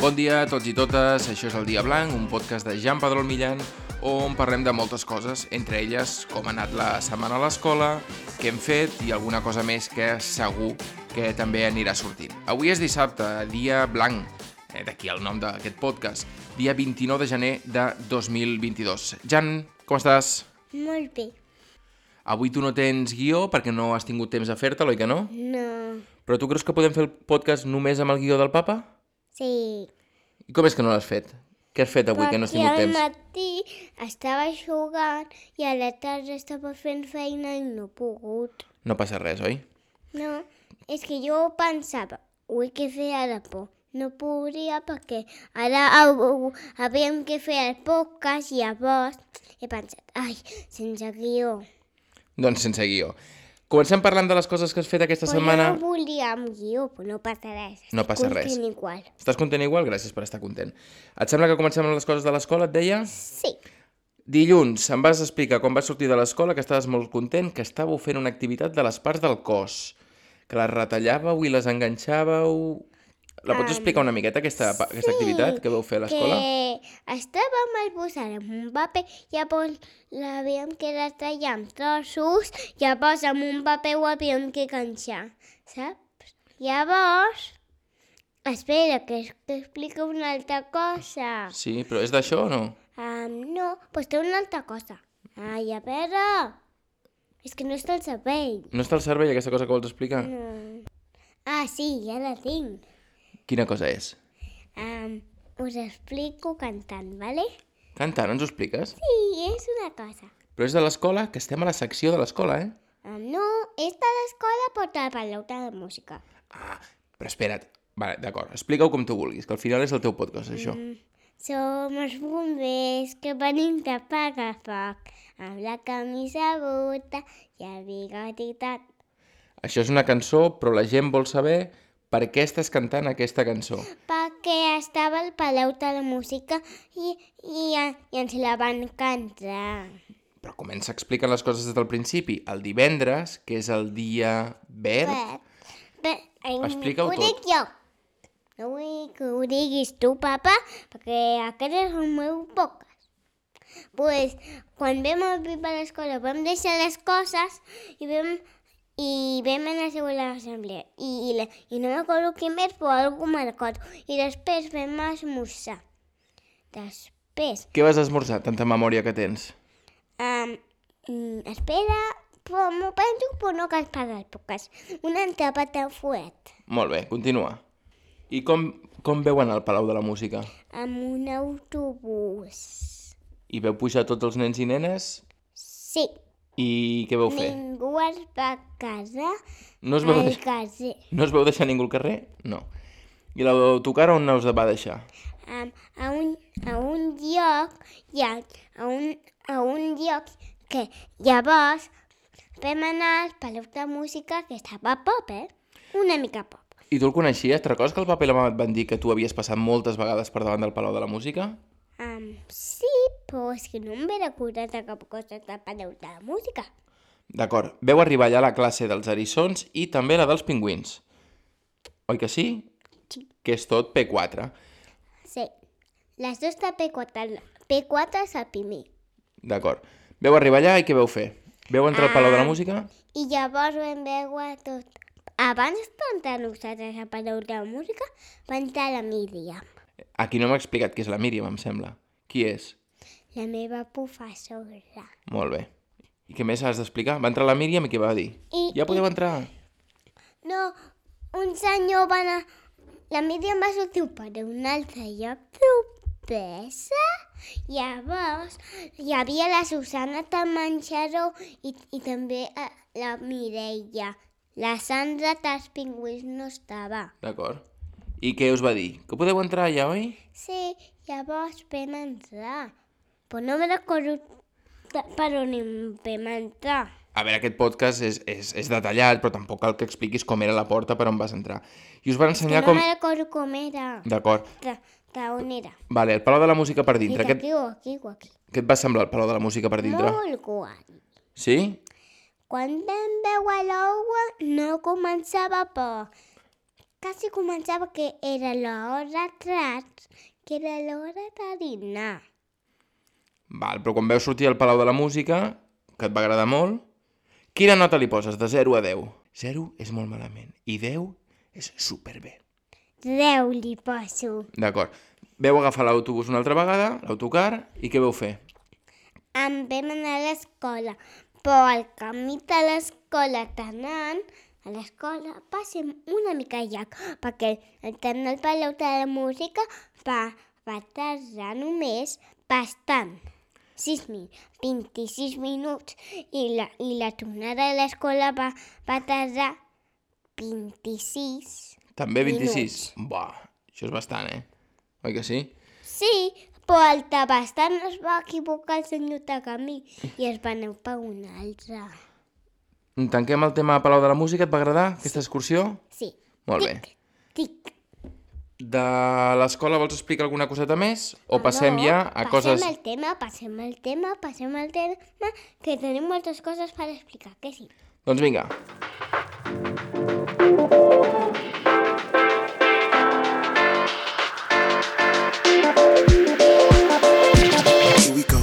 Bon dia a tots i totes, això és El Dia Blanc, un podcast de Jan Pedrol Millan, on parlem de moltes coses, entre elles com ha anat la setmana a l'escola, què hem fet i alguna cosa més que segur que també anirà sortint. Avui és dissabte, Dia Blanc, eh, d'aquí el nom d'aquest podcast, dia 29 de gener de 2022. Jan, com estàs? Molt bé. Avui tu no tens guió perquè no has tingut temps de fer-te'l, oi que no? No. Però tu creus que podem fer el podcast només amb el guió del papa? Sí. I com és que no l'has fet? Què has fet avui que no has tingut al temps? matí estava jugant i a la tarda estava fent feina i no he pogut. No passa res, oi? No, és que jo pensava, ui, què feia la por? No podria perquè ara au, havíem que fer el podcast i llavors he pensat, ai, sense guió. Doncs sense guió. Comencem parlant de les coses que has fet aquesta Però setmana. jo no volia amb guió, però no passa res. No passa Estic res. content igual. Estàs content igual? Gràcies per estar content. Et sembla que comencem amb les coses de l'escola, et deia? Sí, Dilluns em vas explicar quan vas sortir de l'escola que estaves molt content, que estàveu fent una activitat de les parts del cos, que les retallàveu i les enganxàveu... La pots explicar una miqueta, aquesta, pa- aquesta activitat que veu fer a l'escola? Que estàvem esbossant amb un paper, llavors l'havíem que retallar amb trossos, llavors amb un paper ho havíem que canxar, saps? Llavors, espera, que, es- que explico una altra cosa. Sí, però és d'això o no? Um, no, doncs té una altra cosa. Ai, a veure, és que no està el cervell. No està al cervell aquesta cosa que vols explicar? Mm. Ah, sí, ja la tinc. Quina cosa és? Um, us explico cantant, vale? Canta, no ens ho expliques? Sí, és una cosa. Però és de l'escola, que estem a la secció de l'escola, eh? Ah, No, és de l'escola porta el palauta de música. Ah, però espera't. Vale, d'acord, explica-ho com tu vulguis, que al final és el teu podcast, això. Som els bombers que venim de pagar foc amb la camisa bota i el bigoti tat. Això és una cançó, però la gent vol saber per què estàs cantant aquesta cançó. Perquè estava al Palau de la Música i, i, i ens la van cantar. Però comença explicant les coses des del principi. El divendres, que és el dia verd... Bé, em- Explica-ho ho dic jo. No vull que ho diguis tu, papa, perquè aquest és el meu podcast. Pues, quan vam arribar a l'escola vam deixar les coses i vam, i vam anar a seure a l'assemblea. I, i, la, I no m'acordo qui més, però algú me'n recordo. I després vam esmorzar. Després, Què vas esmorzar, tanta memòria que tens? um, espera, però m'ho penso, però no cal parar el podcast. Un entrepat de fuet. Molt bé, continua. I com, com veu anar al Palau de la Música? amb un autobús. I veu pujar tots els nens i nenes? Sí, I què veu fer? ningú es va casar No es veu, al deix... caser. no es veu deixar ningú al carrer? No. I la veu tocar on no us va deixar? A, a, un, a un lloc, i a, a, un, a un lloc que llavors vam anar al Palau de Música que estava a pop, eh? Una mica a pop. I tu el coneixies? Te'n recordes que el paper i la mama et van dir que tu havies passat moltes vegades per davant del Palau de la Música? Um, sí, però és que no em ve recordat de cap cosa del Palau de la Música. D'acord, veu arribar allà la classe dels erissons i també la dels pingüins. Oi que sí? Sí. Que és tot P4. Sí, les dues de P4, P4 és el primer. D'acord. Veu arribar allà i què veu fer? Veu entrar al Palau Ah. de la Música? I llavors vam veure tot. Abans d'entrar nosaltres a Palau de la Música, va entrar la Míriam, Aquí no m'ha explicat qui és la Míriam, em sembla. Qui és? la meva professora. Molt bé. I què més has d'explicar? Va entrar la Míriam i què va dir? I- ja podeu entrar. No, un senyor va anar... La Míriam va sortir per un altre lloc propesa. Llavors, hi havia la Susana del menjador i, i també eh, la Mireia. La Sandra dels pingüins no estava. D'acord. I què us va dir? Que podeu entrar ja, oi? Sí, llavors vam entrar. Però no me recordo de- per on em vam entrar. A veure, aquest podcast és, és, és detallat, però tampoc cal que expliquis com era la porta per on vas entrar. I us van ensenyar no com... me recordo com era, D'acord. de, de on era. Vale, el Palau de la Música per Dic dintre. Què, aquí o aquí o aquí. què et va semblar el Palau de la Música per dintre? Molt guai. Sí? Quan vam veure l'aigua no començava por. Quasi començava que era l'hora tras, que era l'hora de dinar. Val, però quan veus sortir al Palau de la Música, que et va agradar molt, quina nota li poses de 0 a 10? 0 és molt malament i 10 és superbé. Deu li poso. D'acord. Veu agafar l'autobús una altra vegada, l'autocar, i què veu fer? Em vam anar a l'escola, però al camí de l'escola anant a l'escola passem una mica llarg, perquè el tren del Palau de la Música va, va tardar només bastant. 6 minuts, 26 minuts i la, i la tornada a l'escola va, va tardar 26 També 26? Buah, això és bastant, eh? Oi que sí? Sí, però el de bastant es va equivocar el senyor de camí i es va anar per un altre. Tanquem el tema Palau de la Música, et va agradar aquesta excursió? Sí. Molt bé. Tic, tic. De l'escola vols explicar alguna coseta més? O passem Ah, No, ja a passem coses... el tema, passem el tema, passem el tema, que tenim moltes coses per explicar, que sí. Doncs vinga. Here we go.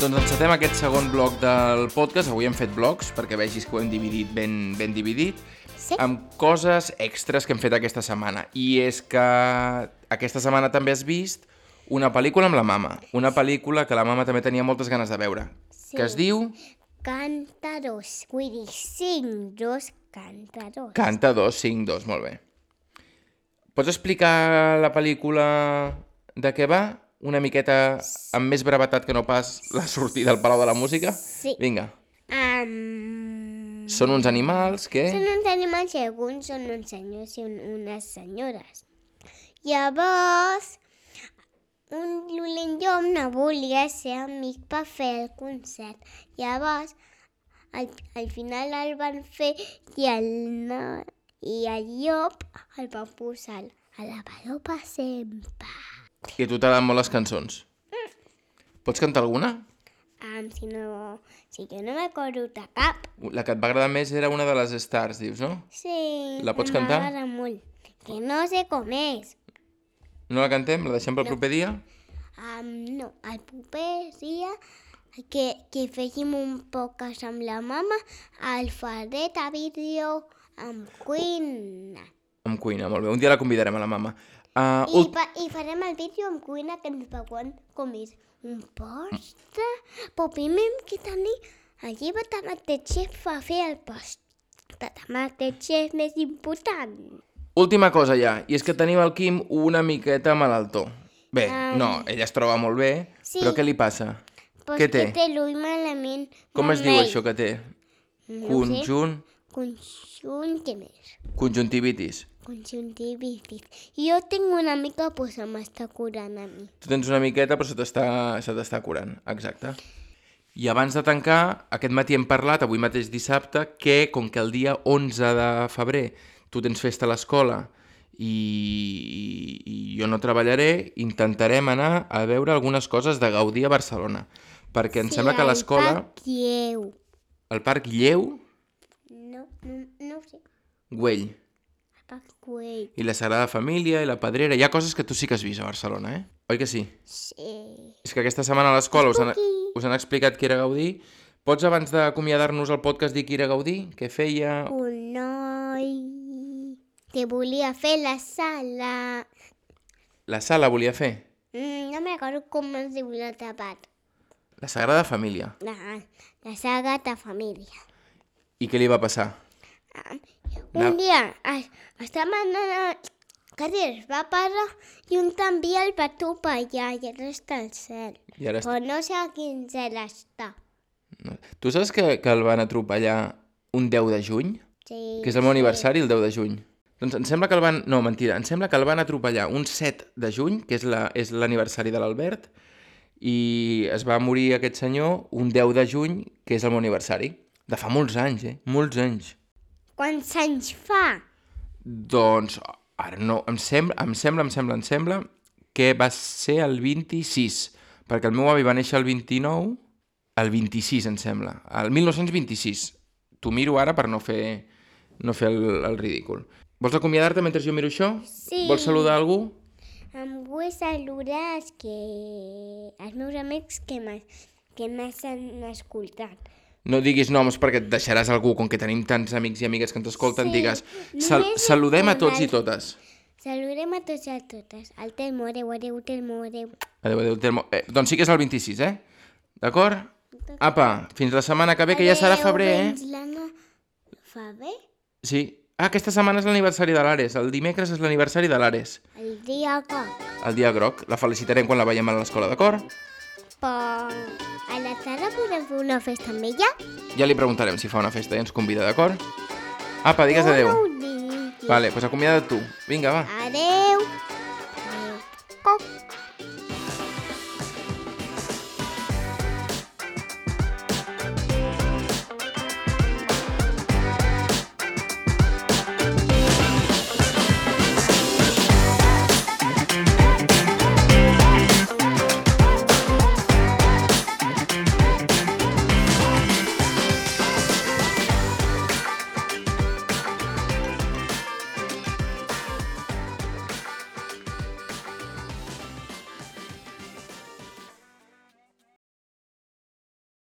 Doncs encetem aquest segon bloc del podcast. Avui hem fet blocs perquè vegis que ho hem dividit ben, ben dividit Sí. amb coses extres que hem fet aquesta setmana. I és que aquesta setmana també has vist una pel·lícula amb la mama. Una pel·lícula que la mama també tenia moltes ganes de veure. Sí. Que es diu Cantaros, vull dir, cinc, dos, cantaros. Canta 252, molt bé. Pots explicar la pel·lícula de què va? Una miqueta amb més brevetat que no pas la sortida del Palau de la Música? Sí. Vinga. Um, Són uns animals que... Són uns animals i alguns són uns senyors i un, unes senyores. Llavors, un l'Olent Llom no volia ser amic per fer el concert. Llavors, al, al final el van fer i el, no- i el llop el van posar a la valor per sempre. I a tu t'agraden molt les cançons. Pots cantar alguna? Um, si no, si jo no m'acordo de cap. La que et va agradar més era una de les Stars, dius, no? Sí, La pots que cantar? m'agrada Molt. Que no sé com és. No la cantem? La deixem pel proper dia? Um, no, el proper dia que, que fèiem un podcast amb la mama al faré de vídeo amb cuina. Em cuina, molt bé. Un dia la convidarem a la mama. Uh, I, fa, I farem el vídeo amb cuina que ens veuen com és un postre. Però primer hem que tenir el llibre de Masterchef per fer el postre de Masterchef més important. Última cosa ja, i és que tenim el Quim una miqueta malaltó. Bé, no, ella es troba molt bé, Sí. però què li passa? Però Què és que té? té l'ull malament. Com es diu això que té? No ho sé. Conjunt, Conjunt, què més? conjuntivitis. Conjuntivitis. Jo tinc una mica, pues em està curant a mi. Tu tens una miqueta, però se t'està se t'està curant, exacte. I abans de tancar, aquest matí hem parlat, avui mateix dissabte, que com que el dia 11 de febrer tu tens festa a l'escola i, i jo no treballaré, intentarem anar a veure algunes coses de Gaudí a Barcelona. Perquè em sembla que a l'escola... Dieu. El Parc Lleu, No, no, no ho sé. Güell, El Pac Güell. i la Sagrada Família, i la Pedrera... Hi ha coses que tu sí que has vist a Barcelona, eh? Oi que sí? Sí. És que aquesta setmana a l'escola us, han, Spooky. us han explicat qui era Gaudí. Pots, abans d'acomiadar-nos el podcast, dir qui era Gaudí? Què feia? Un noi que volia fer la sala. La sala volia fer? Mm, no me'n recordo com es diu l'altre part. La Sagrada Família. La, la saga de família. I què li va passar? Ah, La- Un dia es, estàvem anant a carrer, es va parar i un tramvia el va topar allà i ara està al cel. I ara... est- Però no sé a quin cel està. no. Tu saps que, que el van atropellar un 10 de juny? Sí. Que és el meu aniversari, el 10 de juny. Doncs em sembla que el van... No, mentira. Em sembla que el van atropellar un 7 de juny, que és la- és l'aniversari de l'Albert, i es va morir aquest senyor un 10 de juny, que és el meu aniversari. De fa molts anys, eh? Molts anys. Quants anys fa? Doncs, ara no, em sembla, em sembla, em sembla, em sembla que va ser el 26, perquè el meu avi va néixer el 29, el 26 em sembla, el 1926. T'ho miro ara per no fer no fer el, el ridícul. Vols acomiadar-te mentre jo miro això? Sí. Vols saludar algú? Em vull saludar els, que... els meus amics que m'has- que m'estan escoltant. No diguis noms perquè et deixaràs algú, com que tenim tants amics i amigues que ens escolten, Sí. digues sal Només saludem a amb tots i el- totes. Saludem a tots i a totes. El Telmo, adeu, adeu, Telmo, adeu. Adéu, adéu, Telmo. Eh, doncs sí que és el 26, eh? D'acord? Apa, fins la setmana que ve, que ja serà Adeu, febrer, eh? Venslana. Febrer? Sí. Ah, aquesta setmana és l'aniversari de l'Ares. El dimecres és l'aniversari de l'Ares. El dia que... El dia groc. La felicitarem quan la veiem a l'escola, d'acord? Però a la tarda podem fer una festa amb ella? Ja li preguntarem si fa una festa i ens convida, d'acord? Apa, digues adéu. No ho diguis. Vale, doncs acomiada't tu. Vinga, va. Adéu.